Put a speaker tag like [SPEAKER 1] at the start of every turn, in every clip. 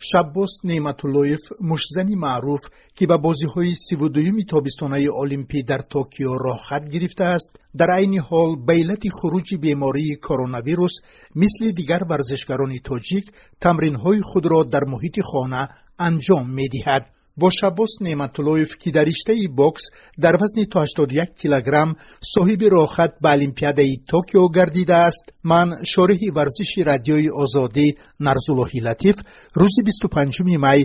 [SPEAKER 1] шаббос неъматуллоев мушзани маъруф ки ба бозиҳои сивудуюми тобистонаи олимпӣ дар токио роҳхат гирифтааст дар айни ҳол ба иллати хуруҷи бемории коронавирус мисли дигар варзишгарони тоҷик тамринҳои худро дар муҳити хона анҷом медиҳад бо шаббос неъматуллоев ки дар риштаи бокс дар вазни то 81 килограмм соҳиби роҳхат ба олимпиадаи токио гардидааст ман шориҳи варзиши радиои озодӣ нарзуллоҳи латиф рӯзи 25 май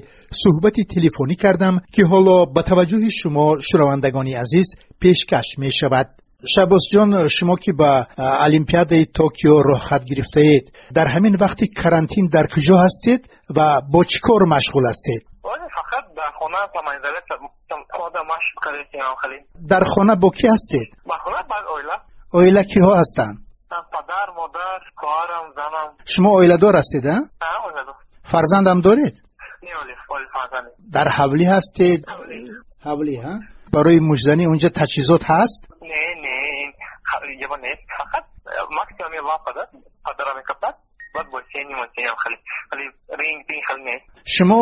[SPEAKER 1] суҳбати телефонӣ кардам ки ҳоло ба таваҷҷӯҳи шумо шунавандагони азиз пешкаш мешавад шабосҷон шумо ки ба олимпиадаи токио роҳхат гирифтаед дар ҳамин вақти карантин дар куҷо ҳастед ва бо чӣ кор машғул астед
[SPEAKER 2] در خونه با منزلت خودم مشق کردیم خیلی
[SPEAKER 1] در خانه با کی هستید؟
[SPEAKER 2] با خونه با اویلا
[SPEAKER 1] اویلا کی ها هستند؟
[SPEAKER 2] پدر مادر کارم زنم
[SPEAKER 1] شما اویلا دار هستید ها؟
[SPEAKER 2] ها اویلا دار
[SPEAKER 1] فرزندم دارید؟
[SPEAKER 2] نیولی فول فرزندی
[SPEAKER 1] در حولی هستید؟ حولی ها؟ برای مجدنی اونجا تجهیزات هست؟
[SPEAKER 2] نه نه حولی جبا نیست فقط مکسیمی واقع پدرم کپت بعد با سینی مونتیم خیلی خیلی رینگ پین خیلی نیست
[SPEAKER 1] شما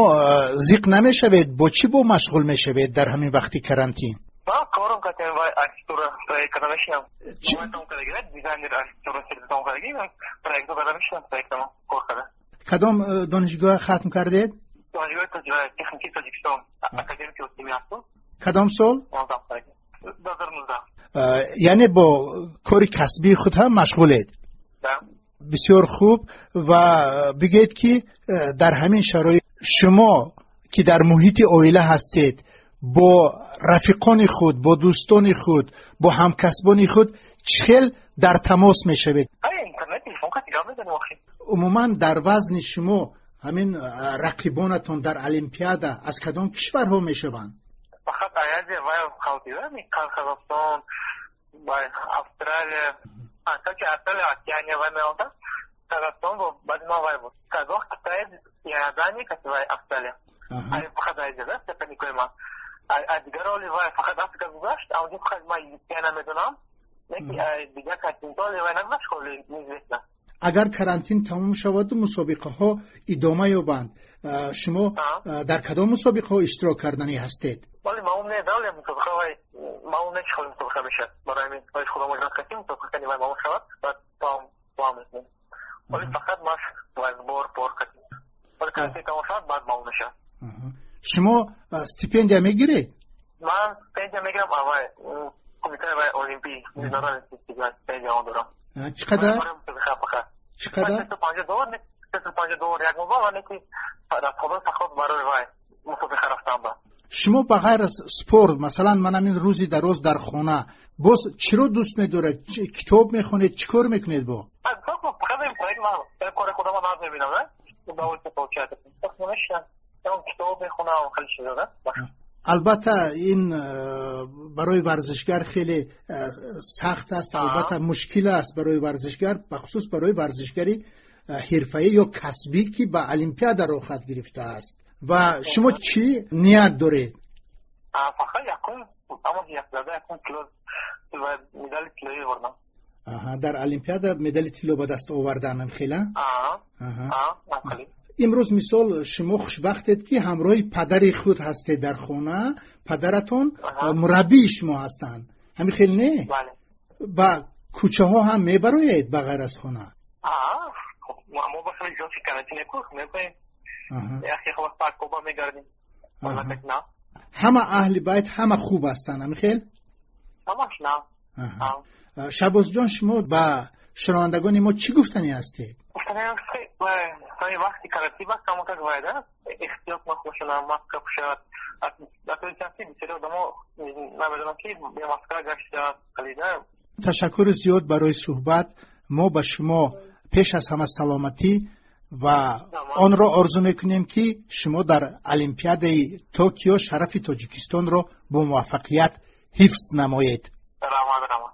[SPEAKER 1] زیق نمیشوید با چی با مشغول میشوید در همین وقتی کرانتین
[SPEAKER 2] با کارم کتیم و اکستورا پرایک کده میشیم مومنتم کده گیرد دیزاینر اکستورا سیرزم کده گیرد پرایک دو کده میشیم پرایکتم کار کده
[SPEAKER 1] کدام دانشگاه ختم کردید؟
[SPEAKER 2] دانشگاه تجربه تکنیکی تاجیکستان اکادمیک اسیمی هستم
[SPEAKER 1] کدام سال؟
[SPEAKER 2] 19 سالگی 2019
[SPEAKER 1] یعنی با کار کسبی خود هم مشغولید؟ بسیار خوب و بگید که در همین شرایط شما که در محیط اویله هستید با رفیقان خود با دوستان خود با همکسبان خود چخل در تماس می شوید عموما در وزن شما همین رقیبانتون در المپیاده از کدام کشورها می شوند
[SPEAKER 2] فقط ایاز و خاطیرم قزاقستان و استرالیا حتی که اصل یعنی و میانده قزاقستان و بعد ما وای بود قزاق کتای یعنی کسی وای افتالی ای فقط ای جده سپه نیکوی ما از دیگر آلی وای فقط افتا گذاشت او دیب خیلی ما یعنی میدونم لیکن دیگر کسی دالی وای نگذاشت کلی نیزیستن
[SPEAKER 1] اگر карантин тамом шаваду мусобиқаҳо идома ёбанд шумо дар кадом мусобиқаҳо иштирок карданӣ ҳастед
[SPEAKER 2] ولی ما اون نه داریم مسابقه وای ما اون نه چخولی مسابقه میشه برای همین ولی خدا مجرد کسی مسابقه کنی وای ما اون شود و با هم با هم میکنیم ولی فقط ما وزبور بور کنیم ولی کسی تمام شد بعد ما اون میشه
[SPEAKER 1] شما ستیپندیا میگیری؟
[SPEAKER 2] من ستیپندیا میگیرم اول کمیته وای اولمپی میدارم ستیپندیا اون دارم
[SPEAKER 1] چقدر؟ چقدر؟
[SPEAKER 2] 35 دلار 35 دلار یک موبایل و نیکی در خدا سخوت برای وای مسابقه رفتم با
[SPEAKER 1] шумо ба ғайр аз спорт масалан ман ҳамин рӯзи дароз дар хона боз чиро дӯст медоред китоб мехонед чӣ кор мекунед бо албатта ин uh, барои варзишгар хеле сахт аст албатта мушкил аст барои варзишгар бахусус барои варзишгари uh, ҳирфаӣ ё касбӣ ки ба олимпиада роҳхат гирифтааст و شما چی نیت دارید؟
[SPEAKER 2] فقط یکون اما یک زده یکون کلوز و مدال تلوی بردم
[SPEAKER 1] آها در المپیادا مدال تلو به دست آوردنم خیلی؟
[SPEAKER 2] آها آها
[SPEAKER 1] امروز مثال شما خوشبختید که همراه پدر خود هستید در خونه پدرتون مربی شما هستند همین خیلی نه؟
[SPEAKER 2] بله
[SPEAKER 1] و کوچه ها هم میبروید بغیر از خونه؟
[SPEAKER 2] آه ما با خیلی جا فکرنتی نکن میکنیم یخی خب بعد کوبا میگردیم نه
[SPEAKER 1] همه اهل بیت همه خوب هستن همین خیل
[SPEAKER 2] همش نه
[SPEAKER 1] شباز جان شما به شنوندگان ما چی گفتنی هستی؟
[SPEAKER 2] سای وقتی کارتی با کامو تک وایده اختیاب ما خوش نه ماسک پوشد اتوی چنسی بیچاره آدمو نمیدونم که به ماسک گشت خلیده
[SPEAKER 1] تشکر زیاد برای صحبت ما به شما پیش از همه سلامتی و آن را آرزو میکنیم که شما در المپیاده توکیو شرف تاجیکستان را با موفقیت حفظ نمایید.
[SPEAKER 2] رحمت رحمت.